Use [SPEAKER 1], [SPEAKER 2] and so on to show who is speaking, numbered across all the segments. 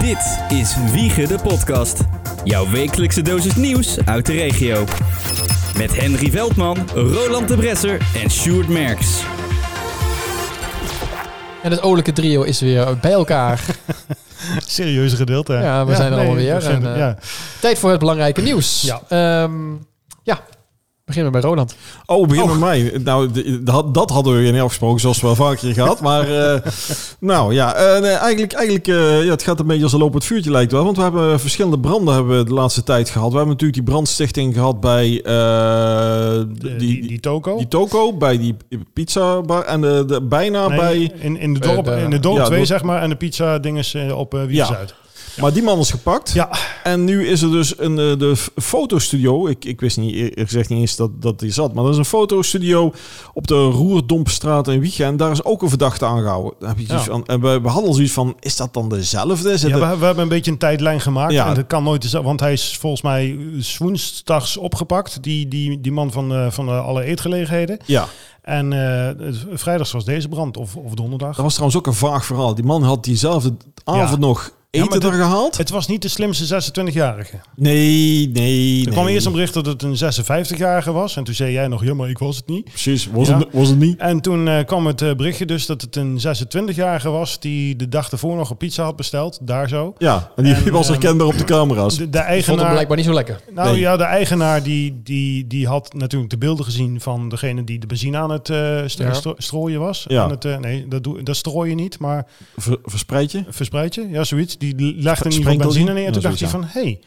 [SPEAKER 1] Dit is Wiegen de Podcast. Jouw wekelijkse dosis nieuws uit de regio. Met Henry Veldman, Roland de Bresser en Sjoerd Merks.
[SPEAKER 2] En het olijke trio is weer bij elkaar.
[SPEAKER 3] serieuze gedeelte.
[SPEAKER 2] Ja, we zijn er allemaal weer
[SPEAKER 3] we zijn
[SPEAKER 2] en,
[SPEAKER 3] er-
[SPEAKER 2] eh,
[SPEAKER 3] ja.
[SPEAKER 2] Tijd voor het belangrijke nieuws.
[SPEAKER 3] Ja.
[SPEAKER 2] Ehm, ja. beginnen we bij Roland.
[SPEAKER 4] Oh, begin met mij. Nou, d- dat, dat hadden we weer niet afgesproken, zoals we wel vaker gehad. Maar eh, nou ja, eh, nee, eigenlijk, eigenlijk eh, ja, het gaat een beetje als een lopend vuurtje lijkt wel. Want we hebben verschillende branden hebben we de laatste tijd gehad. We hebben natuurlijk die brandstichting gehad bij eh,
[SPEAKER 3] die,
[SPEAKER 4] die,
[SPEAKER 3] die,
[SPEAKER 4] die,
[SPEAKER 3] toko.
[SPEAKER 4] toko, bij die pizza bar en eh, de, de, bijna
[SPEAKER 3] Nee,
[SPEAKER 4] bij...
[SPEAKER 3] in, in de
[SPEAKER 2] Eh,
[SPEAKER 3] dorp,
[SPEAKER 2] de-
[SPEAKER 3] in de dorp
[SPEAKER 4] Ja,
[SPEAKER 3] 2,
[SPEAKER 4] dat-
[SPEAKER 3] zeg maar. En de pizza dinges eh, op uh,
[SPEAKER 4] Ja.
[SPEAKER 3] Zuid.
[SPEAKER 4] Maar die man is gepakt.
[SPEAKER 3] Ja.
[SPEAKER 4] En nu is er dus een, eh, de f- fotostudio. Ik, ik wist niet, eerlijk gezegd niet eens dat, dat die zat. Maar er is een fotostudio op de Roerdompstraat in Wiegen. En daar is ook een verdachte aangehouden. Dan heb je zoiets
[SPEAKER 3] Ja.
[SPEAKER 4] van, en we behandelen zoiets van, is dat dan dezelfde? Is het
[SPEAKER 3] Ja,
[SPEAKER 4] een-
[SPEAKER 3] we, we hebben een beetje een tijdlijn gemaakt.
[SPEAKER 4] Ja.
[SPEAKER 3] En dat kan nooit, dezelfde- want hij is volgens mij s woensdags opgepakt. Die, die, die man van, eh, van eh, alle eetgelegenheden.
[SPEAKER 4] ja,
[SPEAKER 3] En eh, het- vrijdags was deze brand, of, of donderdag.
[SPEAKER 4] dat was trouwens ook een vaag verhaal. Die man had diezelfde avond nog
[SPEAKER 3] maar
[SPEAKER 4] eten
[SPEAKER 3] dit-
[SPEAKER 4] er gehaald.
[SPEAKER 3] Het was niet de slimste 26-jarige. Er
[SPEAKER 4] Nee, nee, nee.
[SPEAKER 3] kwam eerst een bericht dat het een 56-jarige was. En toen zei jij nog, ja, maar ik was het niet.
[SPEAKER 4] Precies, was,
[SPEAKER 3] Ja.
[SPEAKER 4] het, was het niet?
[SPEAKER 3] En toen eh, kwam het eh, berichtje dus dat het een 26-jarige was... die de dag ervoor nog een pizza had besteld, daar zo.
[SPEAKER 4] Ja, en die
[SPEAKER 3] En,
[SPEAKER 4] was
[SPEAKER 3] ehm,
[SPEAKER 4] herkenbaar op de camera's.
[SPEAKER 3] De, de
[SPEAKER 2] Ik vond hem
[SPEAKER 3] eigenaar,
[SPEAKER 2] blijkbaar niet zo lekker.
[SPEAKER 3] nou,
[SPEAKER 4] Nee.
[SPEAKER 3] ja, de eigenaar die, die, die had natuurlijk de beelden gezien... van degene die de benzine aan het eh, st-
[SPEAKER 2] Ja.
[SPEAKER 3] stro- strooien was.
[SPEAKER 4] Ja.
[SPEAKER 3] Aan het, eh, nee, dat, doe, dat strooi je niet, maar
[SPEAKER 4] Ver- verspreid je?
[SPEAKER 3] verspreid je. Ja, zoiets. Die legde in ieder geval
[SPEAKER 4] Sprenkel
[SPEAKER 3] benzine
[SPEAKER 4] die?
[SPEAKER 3] neer. En toen
[SPEAKER 4] Ja,
[SPEAKER 3] dacht hij
[SPEAKER 4] zoiets,
[SPEAKER 3] van, hé... Hey,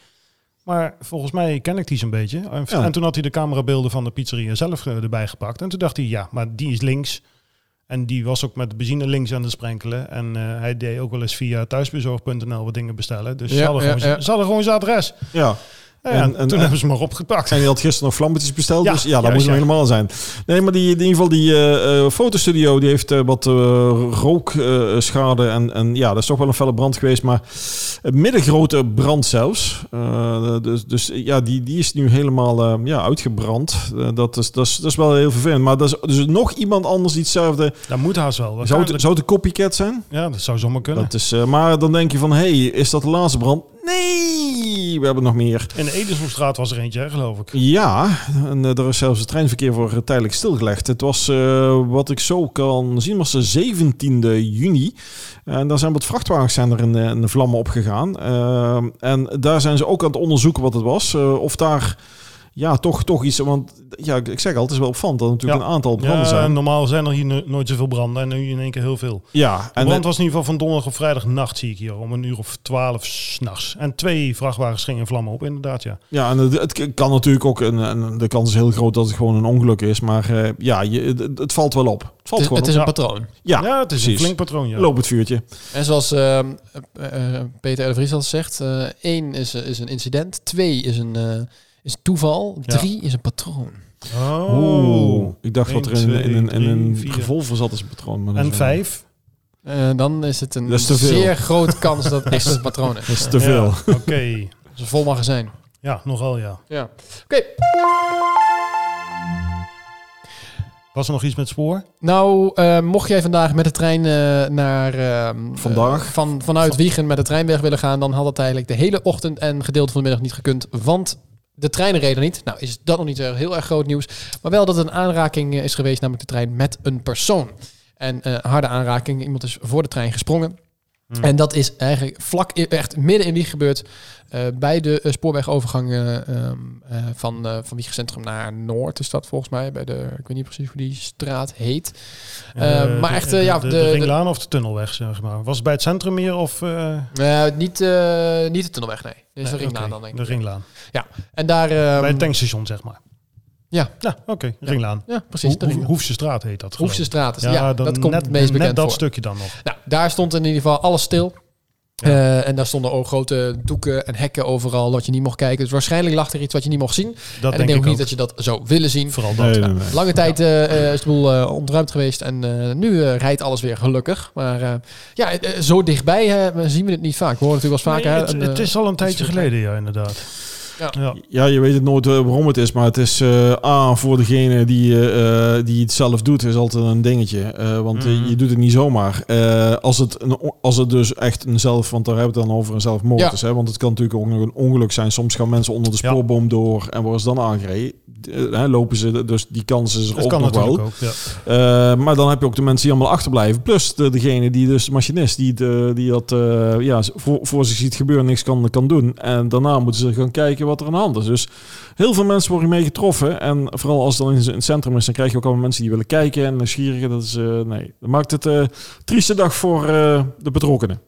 [SPEAKER 3] maar volgens mij ken ik die zo'n beetje. En,
[SPEAKER 4] Ja.
[SPEAKER 3] en toen had hij de camerabeelden van de pizzeria zelf eh, erbij gepakt. En toen dacht hij, ja, maar die is links. En die was ook met de benzine links aan het sprenkelen. En eh, hij deed ook wel eens via thuisbezorg.nl wat dingen bestellen. Dus
[SPEAKER 2] Ja,
[SPEAKER 3] ze, hadden
[SPEAKER 2] ja,
[SPEAKER 3] gewoon,
[SPEAKER 2] ja.
[SPEAKER 3] ze hadden gewoon zijn adres.
[SPEAKER 4] Ja.
[SPEAKER 3] Nou ja,
[SPEAKER 4] En- en-
[SPEAKER 3] toen
[SPEAKER 4] en-
[SPEAKER 3] hebben ze hem maar opgepakt.
[SPEAKER 4] En je had gisteren nog vlammetjes besteld,
[SPEAKER 3] Ja,
[SPEAKER 4] dus ja, dat
[SPEAKER 3] juist,
[SPEAKER 4] moet hem
[SPEAKER 3] ja.
[SPEAKER 4] helemaal zijn. Nee, maar die, die- in ieder geval die eh, eh, fotostudio, die heeft eh, wat rookschade. en, en ja, dat is toch wel een felle brand geweest, maar een middengrote brand zelfs. Eh, dus, dus ja, die, die is nu helemaal eh, ja, uitgebrand. Eh, dat, is, dat, is, dat is wel heel vervelend. Maar dat is dus nog iemand anders die hetzelfde...
[SPEAKER 3] Dat moet haast wel.
[SPEAKER 4] Zou het, zou het een copycat zijn?
[SPEAKER 3] Ja, dat zou zomaar kunnen.
[SPEAKER 4] Dat is, eh, maar dan denk je van, hey, is dat de laatste brand? Nee, we hebben nog meer.
[SPEAKER 3] In de Edenshoefstraat was er eentje, hè, geloof ik.
[SPEAKER 4] Ja, en eh, er is zelfs het treinverkeer voor eh, tijdelijk stilgelegd. Het was, eh, wat ik zo kan zien, was de 17 juni. En daar zijn wat vrachtwagens zijn er in, de- in de vlammen opgegaan. Eh, en daar zijn ze ook aan het onderzoeken wat het was. Eh, of daar ja, toch, toch iets... Want ja, ik ik zeg al, het is wel opvallend dat er natuurlijk
[SPEAKER 3] Ja.
[SPEAKER 4] een aantal branden
[SPEAKER 3] Ja,
[SPEAKER 4] zijn.
[SPEAKER 3] normaal zijn er hier no- nooit zoveel branden. En nu in één keer heel veel.
[SPEAKER 4] Ja,
[SPEAKER 3] De
[SPEAKER 4] en eh,
[SPEAKER 3] brand was in ieder geval van donderdag op vrijdagnacht, zie ik hier, om een uur of twaalf s'nachts. En twee vrachtwagens gingen in vlammen op, inderdaad, ja.
[SPEAKER 4] Ja, en het, het kan natuurlijk ook, een, een- de kans is heel groot dat het gewoon een ongeluk is. Maar eh, ja, je, het, het valt wel op. Het valt
[SPEAKER 2] Het,
[SPEAKER 4] gewoon
[SPEAKER 2] het is
[SPEAKER 4] op.
[SPEAKER 2] een patroon.
[SPEAKER 4] Ja,
[SPEAKER 3] het is een
[SPEAKER 4] precies.
[SPEAKER 3] flink patroon, ja.
[SPEAKER 4] loop het vuurtje.
[SPEAKER 2] En zoals ehm, eh, eh, Peter R. de Vries al zegt, eh, één is, eh, is een incident, twee is een eh, is toeval,
[SPEAKER 3] Ja.
[SPEAKER 2] drie is een patroon.
[SPEAKER 3] Oh.
[SPEAKER 4] Oeh, ik dacht
[SPEAKER 3] Eén,
[SPEAKER 4] dat er in,
[SPEAKER 3] twee,
[SPEAKER 4] in, in, in
[SPEAKER 3] drie,
[SPEAKER 4] een
[SPEAKER 3] vier.
[SPEAKER 4] revolver zat als een patroon. Maar dat
[SPEAKER 3] En
[SPEAKER 4] is-
[SPEAKER 3] vijf?
[SPEAKER 2] Eh, dan is het een
[SPEAKER 4] Dat is te veel.
[SPEAKER 2] zeer grote kans dat het echt een patroon is.
[SPEAKER 4] Dat is te veel.
[SPEAKER 3] Ja, Oké,
[SPEAKER 2] Dat is een vol magazijn.
[SPEAKER 3] ja, nogal ja.
[SPEAKER 2] Ja. Oké,
[SPEAKER 3] Was er nog iets met spoor?
[SPEAKER 2] nou eh, mocht jij vandaag met de trein eh, naar... ehm,
[SPEAKER 4] Vandaag?
[SPEAKER 2] eh, van, vanuit Wiegen met de trein weg willen gaan, dan had het eigenlijk de hele ochtend en gedeelte van de middag niet gekund. Want de treinen reden niet. Nou is dat nog niet eh, heel erg groot nieuws. Maar wel dat het een aanraking eh, is geweest, namelijk de trein met een persoon. En eh, harde aanraking. Iemand is voor de trein gesprongen.
[SPEAKER 3] Hmm.
[SPEAKER 2] En dat is eigenlijk vlak, in- echt midden in Wieg gebeurd. eh, bij de eh, spoorwegovergang eh, ehm, eh, van, eh van Wiegcentrum naar Noord is dat volgens mij. Bij de, ik weet niet precies hoe die straat heet. Eh,
[SPEAKER 3] Eh,
[SPEAKER 2] maar
[SPEAKER 3] de-
[SPEAKER 2] echt,
[SPEAKER 3] de,
[SPEAKER 2] eh, ja,
[SPEAKER 3] de,
[SPEAKER 2] de-
[SPEAKER 3] de
[SPEAKER 2] de-
[SPEAKER 3] ringlaan of de tunnelweg, zeg maar. Was het bij het centrum meer of... eh,
[SPEAKER 2] Eh, niet, eh, niet de tunnelweg, nee. Dit is
[SPEAKER 3] nee,
[SPEAKER 2] de ringlaan
[SPEAKER 3] oké,
[SPEAKER 2] dan, denk ik.
[SPEAKER 3] De ringlaan.
[SPEAKER 2] En daar... ehm,
[SPEAKER 3] bij het tankstation, zeg maar.
[SPEAKER 2] Ja.
[SPEAKER 3] Ja, oké, ringlaan.
[SPEAKER 2] Ja, precies.
[SPEAKER 3] Hoe- Hoe- Hoefsestraat heet dat. geloof ik.
[SPEAKER 2] Hoefse straat. Ja, ja
[SPEAKER 3] dan
[SPEAKER 2] dat komt
[SPEAKER 3] net,
[SPEAKER 2] het meest bekend
[SPEAKER 3] Net dat
[SPEAKER 2] voor.
[SPEAKER 3] stukje dan nog.
[SPEAKER 2] Nou, daar stond in ieder geval alles stil. Eh, en daar stonden ook grote doeken en hekken overal wat je niet mocht kijken. Dus waarschijnlijk lag er iets wat je niet mocht zien.
[SPEAKER 3] Dat
[SPEAKER 2] en
[SPEAKER 3] denk
[SPEAKER 2] ik denk ook
[SPEAKER 3] ik
[SPEAKER 2] niet dat je dat zou willen zien.
[SPEAKER 3] Vooral dat.
[SPEAKER 4] Nee, nee, nee.
[SPEAKER 2] Lange tijd eh, eh, is de boel eh, ontruimd geweest en eh, nu eh, rijdt alles weer gelukkig. Maar eh, ja, eh, zo dichtbij eh, zien we het niet vaak. We horen het natuurlijk wel eens
[SPEAKER 3] Nee,
[SPEAKER 2] vaker. hè,
[SPEAKER 3] het,
[SPEAKER 2] een, eh,
[SPEAKER 3] het is al een
[SPEAKER 2] is
[SPEAKER 3] tijdje
[SPEAKER 2] verkleind.
[SPEAKER 3] geleden, ja, inderdaad. Ja.
[SPEAKER 4] Ja, je weet het nooit eh, waarom het is, maar het is eh, A, voor degene die, eh, eh, die het zelf doet, is altijd een dingetje. Eh, want eh,
[SPEAKER 3] Mhm.
[SPEAKER 4] je doet het niet zomaar. Eh, als, het een, o- als het dus echt een zelf, want daar hebben we het dan over een zelfmoord
[SPEAKER 2] Ja.
[SPEAKER 4] is. Hè, want het kan natuurlijk ook nog een ongeluk zijn. Soms gaan mensen onder de
[SPEAKER 3] Ja.
[SPEAKER 4] spoorboom door en worden ze dan aangereden. Eh, hè, lopen ze, dus die kans is er
[SPEAKER 3] Dat
[SPEAKER 4] ook
[SPEAKER 3] kan
[SPEAKER 4] nog
[SPEAKER 3] natuurlijk
[SPEAKER 4] wel.
[SPEAKER 3] ook. Ja.
[SPEAKER 4] Eh, maar dan heb je ook de mensen die allemaal achterblijven. Plus de, degene die dus, de machinist, die, de, die dat eh, ja, voor, voor zich ziet gebeuren, niks kan, kan doen. En daarna moeten ze gaan kijken wat er aan de hand is. Dus heel veel mensen worden mee getroffen. En vooral als het dan in z- in het centrum is, dan krijg je ook allemaal mensen die willen kijken en nieuwsgierigen. Dat is, eh, nee, dat maakt het eh, een trieste dag voor eh, de betrokkenen.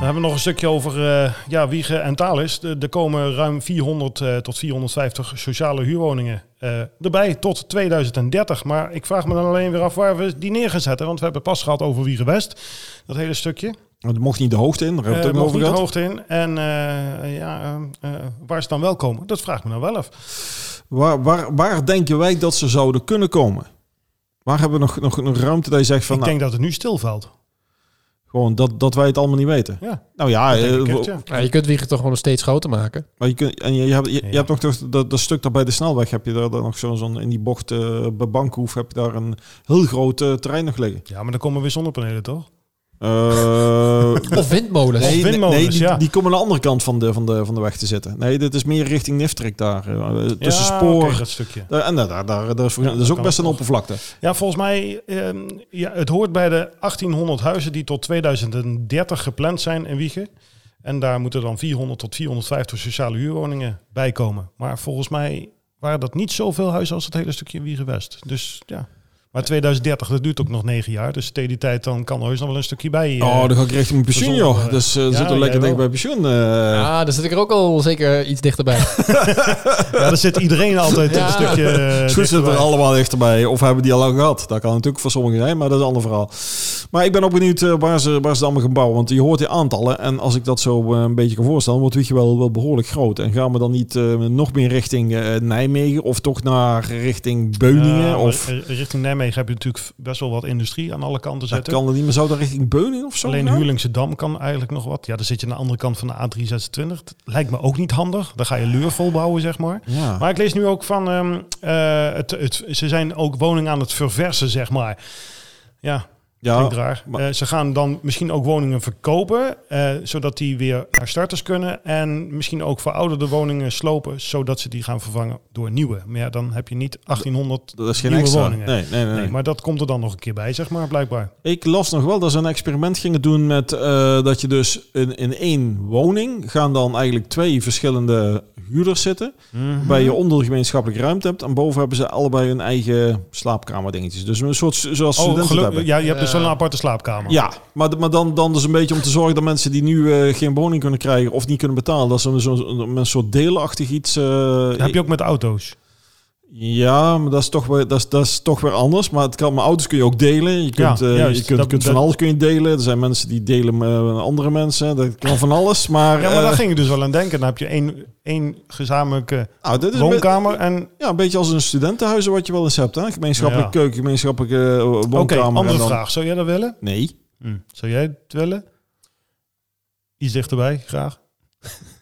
[SPEAKER 3] Dan hebben we nog een stukje over eh, ja, Wiegen en Thalys. De- Er komen ruim 400 eh, tot 450 sociale huurwoningen eh, erbij tot 2030. Maar ik vraag me dan alleen weer af waar we die neer gaan zetten. Want we hebben het pas gehad over Wiegen West. Dat hele stukje.
[SPEAKER 4] Want het Oh, mocht niet de hoogte in, daar hebben we
[SPEAKER 3] Eh
[SPEAKER 4] het ook nog
[SPEAKER 3] mogen niet
[SPEAKER 4] over
[SPEAKER 3] de
[SPEAKER 4] gehad.
[SPEAKER 3] hoogte in. En eh, ja, eh, eh, waar ze dan wel komen, dat vraag ik me dan wel af.
[SPEAKER 4] Waar, waar, waar denken wij dat ze zouden kunnen komen? Waar hebben we nog, nog, nog ruimte dat je zegt van,
[SPEAKER 3] ik
[SPEAKER 4] nou,
[SPEAKER 3] denk dat het nu stilvalt.
[SPEAKER 4] gewoon dat, dat wij het allemaal niet weten?
[SPEAKER 3] Ja,
[SPEAKER 4] Nou ja,
[SPEAKER 3] dat denk ik
[SPEAKER 4] eh,
[SPEAKER 3] echt, ja.
[SPEAKER 2] Ja, je kunt Wiegen toch gewoon nog steeds groter maken.
[SPEAKER 4] Maar je, kunt, en je, je hebt, je, je
[SPEAKER 3] Ja.
[SPEAKER 4] hebt nog toch dat, dat stuk daar bij de snelweg, heb je daar dan nog zo'n, zo'n in die bocht eh, bij Bankhoef, heb je daar een heel groot eh, terrein nog liggen.
[SPEAKER 3] Ja, maar dan komen weer zonnepanelen, toch?
[SPEAKER 4] Eh,
[SPEAKER 2] Of windmolens.
[SPEAKER 4] nee, nee,
[SPEAKER 3] windmolens,
[SPEAKER 4] nee, die,
[SPEAKER 3] ja.
[SPEAKER 4] die komen aan de andere kant van de, van de, van de weg te zitten. Nee, dit is meer richting Nifterik daar. eh, tussen
[SPEAKER 3] Ja,
[SPEAKER 4] spoor.
[SPEAKER 3] oké, dat stukje.
[SPEAKER 4] daar- en daar, daar, daar, daar is-
[SPEAKER 3] Ja,
[SPEAKER 4] dat is
[SPEAKER 3] dat
[SPEAKER 4] ook
[SPEAKER 3] kan
[SPEAKER 4] best een
[SPEAKER 3] nog.
[SPEAKER 4] oppervlakte.
[SPEAKER 3] Ja, volgens mij, ehm, ja, het hoort bij de 1800 huizen die tot 2030 gepland zijn in Wiegen. En daar moeten dan 400 tot 450 sociale huurwoningen bij komen. Maar volgens mij waren dat niet zoveel huizen als het hele stukje in Wiegen West. Dus ja. Maar 2030, dat duurt ook nog negen jaar. Dus tegen die tijd dan kan er heus nog wel een stukje bij. eh.
[SPEAKER 4] oh, dan ga ik richting mijn pensioen,
[SPEAKER 3] dat is
[SPEAKER 4] joh.
[SPEAKER 3] wel,
[SPEAKER 4] Dus eh
[SPEAKER 3] ja,
[SPEAKER 4] zit er
[SPEAKER 3] jij
[SPEAKER 4] lekker
[SPEAKER 3] wel.
[SPEAKER 4] denk bij pensioen. eh.
[SPEAKER 2] Ah, daar zit ik er ook al zeker iets dichterbij.
[SPEAKER 3] ja, daar zit iedereen altijd
[SPEAKER 2] Ja.
[SPEAKER 3] een stukje. eh,
[SPEAKER 4] Goed zitten
[SPEAKER 3] dichterbij.
[SPEAKER 4] er allemaal dichterbij. Of hebben die al lang gehad. Dat kan natuurlijk voor sommigen zijn, maar dat is een ander verhaal. Maar ik ben ook benieuwd eh, waar ze, waar ze het allemaal gaan bouwen. Want je hoort die aantallen. En als ik dat zo eh, een beetje kan voorstellen, wordt Wiegje wel, wel behoorlijk groot. En gaan we dan niet eh, nog meer richting eh, Nijmegen of toch naar richting Beuningen?
[SPEAKER 3] Ja, maar
[SPEAKER 4] of
[SPEAKER 3] r- Richting Nijmegen heb je natuurlijk best wel wat industrie aan alle kanten
[SPEAKER 4] dat
[SPEAKER 3] zitten.
[SPEAKER 4] kan er niet meer. Zou dat richting Beuningen of zo?
[SPEAKER 3] Alleen
[SPEAKER 4] gaan?
[SPEAKER 3] Huurlingse Dam kan eigenlijk nog wat. Ja, dan zit je aan de andere kant van de A326. Dat lijkt me ook niet handig. Dan ga je leur vol bouwen, zeg maar.
[SPEAKER 4] Ja.
[SPEAKER 3] Maar ik lees nu ook van... ehm, eh, het, het, ze zijn ook woningen aan het verversen, zeg maar. Ja,
[SPEAKER 4] ja,
[SPEAKER 3] klinkt raar.
[SPEAKER 4] maar-
[SPEAKER 3] Eh, ze gaan dan misschien ook woningen verkopen... eh, zodat die weer naar starters kunnen. En misschien ook verouderde woningen slopen... zodat ze die gaan vervangen door nieuwe. Maar ja, dan heb je niet 1800...
[SPEAKER 4] dat is geen
[SPEAKER 3] nieuwe
[SPEAKER 4] extra. Nee,
[SPEAKER 3] woningen.
[SPEAKER 4] nee, nee.
[SPEAKER 3] Nee, maar dat komt er dan nog een keer bij, zeg maar, blijkbaar.
[SPEAKER 4] Ik las nog wel dat ze een experiment gingen doen met eh, dat je dus in, in één woning gaan dan eigenlijk twee verschillende huurders zitten.
[SPEAKER 3] Mhm.
[SPEAKER 4] Waarbij je onder de gemeenschappelijke ruimte hebt en boven hebben ze allebei hun eigen slaapkamer dingetjes. Dus een soort s- zoals
[SPEAKER 3] Oh,
[SPEAKER 4] studenten het hebben.
[SPEAKER 3] gelukkig. Ja, je hebt dus wel een
[SPEAKER 2] Ja.
[SPEAKER 3] aparte slaapkamer.
[SPEAKER 4] Ja, maar, d- maar dan, dan dus een beetje om te zorgen dat mensen die nu eh, geen woning kunnen krijgen of niet kunnen betalen, dat ze zo, een, een soort deelachtig iets. eh,
[SPEAKER 3] Dat heb je ook met auto's.
[SPEAKER 4] Ja, maar dat is, toch weer, dat, is, dat is toch weer anders. Maar het kan, maar auto's kun je ook delen. Je kunt, eh,
[SPEAKER 3] juist.
[SPEAKER 4] je kunt,
[SPEAKER 3] Dat-
[SPEAKER 4] kunt van
[SPEAKER 3] dat-
[SPEAKER 4] alles kun je delen. Er zijn mensen die delen met andere mensen. Dat kan van alles. Maar,
[SPEAKER 3] Ja, maar daar
[SPEAKER 4] eh,
[SPEAKER 3] ging ik dus wel aan denken. Dan heb je één, één gezamenlijke
[SPEAKER 4] nou, dit is een be-
[SPEAKER 3] woonkamer. En
[SPEAKER 4] ja, een beetje als een studentenhuizen wat je wel eens hebt. Hè? Gemeenschappelijke
[SPEAKER 3] Ja.
[SPEAKER 4] keuken, gemeenschappelijke eh, woonkamer.
[SPEAKER 3] oké, andere
[SPEAKER 4] en dan- Hmm.
[SPEAKER 3] vraag. Zou jij dat willen?
[SPEAKER 4] Nee.
[SPEAKER 3] Zou jij het willen? Iets dichterbij, graag.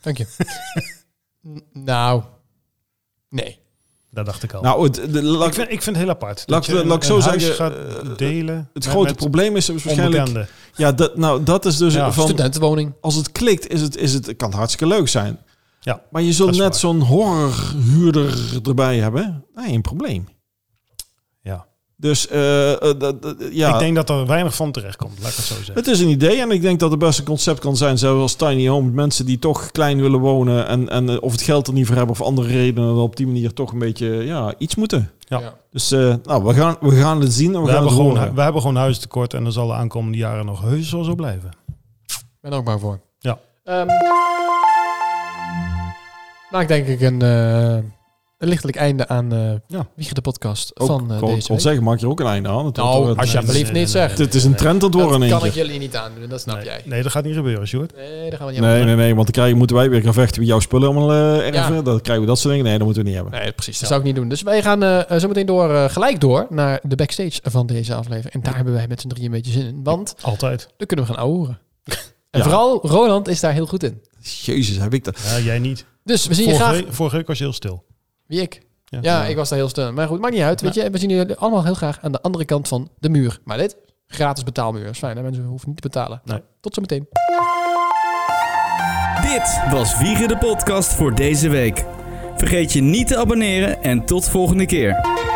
[SPEAKER 2] Dank je. N- nou, nee.
[SPEAKER 3] Dat dacht ik al.
[SPEAKER 4] Nou, het, de, laat,
[SPEAKER 3] ik, vind, ik vind het heel apart.
[SPEAKER 4] laat-
[SPEAKER 3] je
[SPEAKER 4] laat ik
[SPEAKER 3] een
[SPEAKER 4] zo
[SPEAKER 3] huis
[SPEAKER 4] zeggen,
[SPEAKER 3] gaat
[SPEAKER 4] eh,
[SPEAKER 3] delen
[SPEAKER 4] het
[SPEAKER 3] met-
[SPEAKER 4] grote
[SPEAKER 3] met
[SPEAKER 4] probleem is waarschijnlijk...
[SPEAKER 3] onbekenden.
[SPEAKER 4] Ja, dat, nou, dat is dus
[SPEAKER 3] Ja,
[SPEAKER 4] van...
[SPEAKER 2] Studentenwoning.
[SPEAKER 4] Als het klikt, is het, is het, kan het hartstikke leuk zijn.
[SPEAKER 3] Ja,
[SPEAKER 4] maar je
[SPEAKER 3] dat
[SPEAKER 4] zult
[SPEAKER 3] is
[SPEAKER 4] net
[SPEAKER 3] waar.
[SPEAKER 4] zo'n horrorhuurder erbij hebben. Nee, een probleem.
[SPEAKER 3] Ja.
[SPEAKER 4] Dus eh, eh, dat- dat- ja,
[SPEAKER 3] Ik denk dat er weinig van terecht komt, laat ik het zo zeggen.
[SPEAKER 4] het is een idee. En ik denk dat het best een concept kan zijn. Zelfs als tiny home. Mensen die toch klein willen wonen. En, en eh, of het geld er niet voor hebben. Of andere redenen. Dan op die manier toch een beetje ja, iets moeten.
[SPEAKER 3] Ja.
[SPEAKER 4] Dus eh, nou, we gaan, we gaan het zien. En
[SPEAKER 3] we,
[SPEAKER 4] we, gaan
[SPEAKER 3] hebben
[SPEAKER 4] het
[SPEAKER 3] gewoon,
[SPEAKER 4] horen.
[SPEAKER 3] we hebben gewoon huistekort en dat zal de aankomende jaren nog heus wel zo blijven.
[SPEAKER 2] Ben er ook bang voor.
[SPEAKER 3] Ja.
[SPEAKER 2] Ehm, maak denk ik een, eh, een lichtelijk einde aan eh
[SPEAKER 3] Ja.
[SPEAKER 2] Wiegen de podcast
[SPEAKER 4] Ook,
[SPEAKER 2] van eh,
[SPEAKER 4] kon-
[SPEAKER 2] deze
[SPEAKER 4] kon
[SPEAKER 2] week.
[SPEAKER 4] zeggen, maak je er ook een einde aan. Het wordt
[SPEAKER 2] Nou,
[SPEAKER 4] wel-
[SPEAKER 2] als je-
[SPEAKER 4] het,
[SPEAKER 2] alsjeblieft niet zeggen.
[SPEAKER 4] het is een trend dat worden
[SPEAKER 2] dat
[SPEAKER 4] in één
[SPEAKER 2] kan ik
[SPEAKER 4] keer.
[SPEAKER 2] jullie niet aandoen, dat snap
[SPEAKER 3] nee,
[SPEAKER 2] jij.
[SPEAKER 3] nee, dat gaat niet gebeuren, Sjoerd.
[SPEAKER 2] Nee, daar gaan we niet aan
[SPEAKER 4] Nee,
[SPEAKER 2] doen.
[SPEAKER 4] nee, nee, want dan krijgen, moeten wij weer gaan vechten met jouw spullen allemaal eh erven.
[SPEAKER 2] Ja.
[SPEAKER 4] Dan krijgen we dat soort dingen. Nee, dat moeten we niet hebben.
[SPEAKER 2] Nee, precies. Dat
[SPEAKER 3] Ja.
[SPEAKER 2] zou ik niet doen. Dus wij gaan eh, eh, zo meteen door, eh, gelijk door naar de backstage van deze aflevering. En daar hebben wij met z'n drieën een beetje zin in. Want
[SPEAKER 3] Altijd.
[SPEAKER 2] dan kunnen we gaan ouwen. En
[SPEAKER 4] Ja.
[SPEAKER 2] vooral Roland is daar heel goed in.
[SPEAKER 4] Jezus, heb ik dat.
[SPEAKER 3] Ja, jij niet.
[SPEAKER 2] Dus we zien je
[SPEAKER 3] Vorige,
[SPEAKER 2] graag.
[SPEAKER 3] week, vorige week was je heel stil.
[SPEAKER 2] Wie ik? Ja, ik was daar heel stil. Maar goed, maakt niet uit. Weet je, we zien jullie allemaal heel graag aan de andere kant van de muur. Maar dit, gratis betaalmuur. is fijn, hè? mensen hoeven niet te betalen.
[SPEAKER 3] Nee.
[SPEAKER 2] Nou, tot zometeen.
[SPEAKER 1] Dit was Wiegen de Podcast voor deze week. Vergeet je niet te abonneren en tot volgende keer.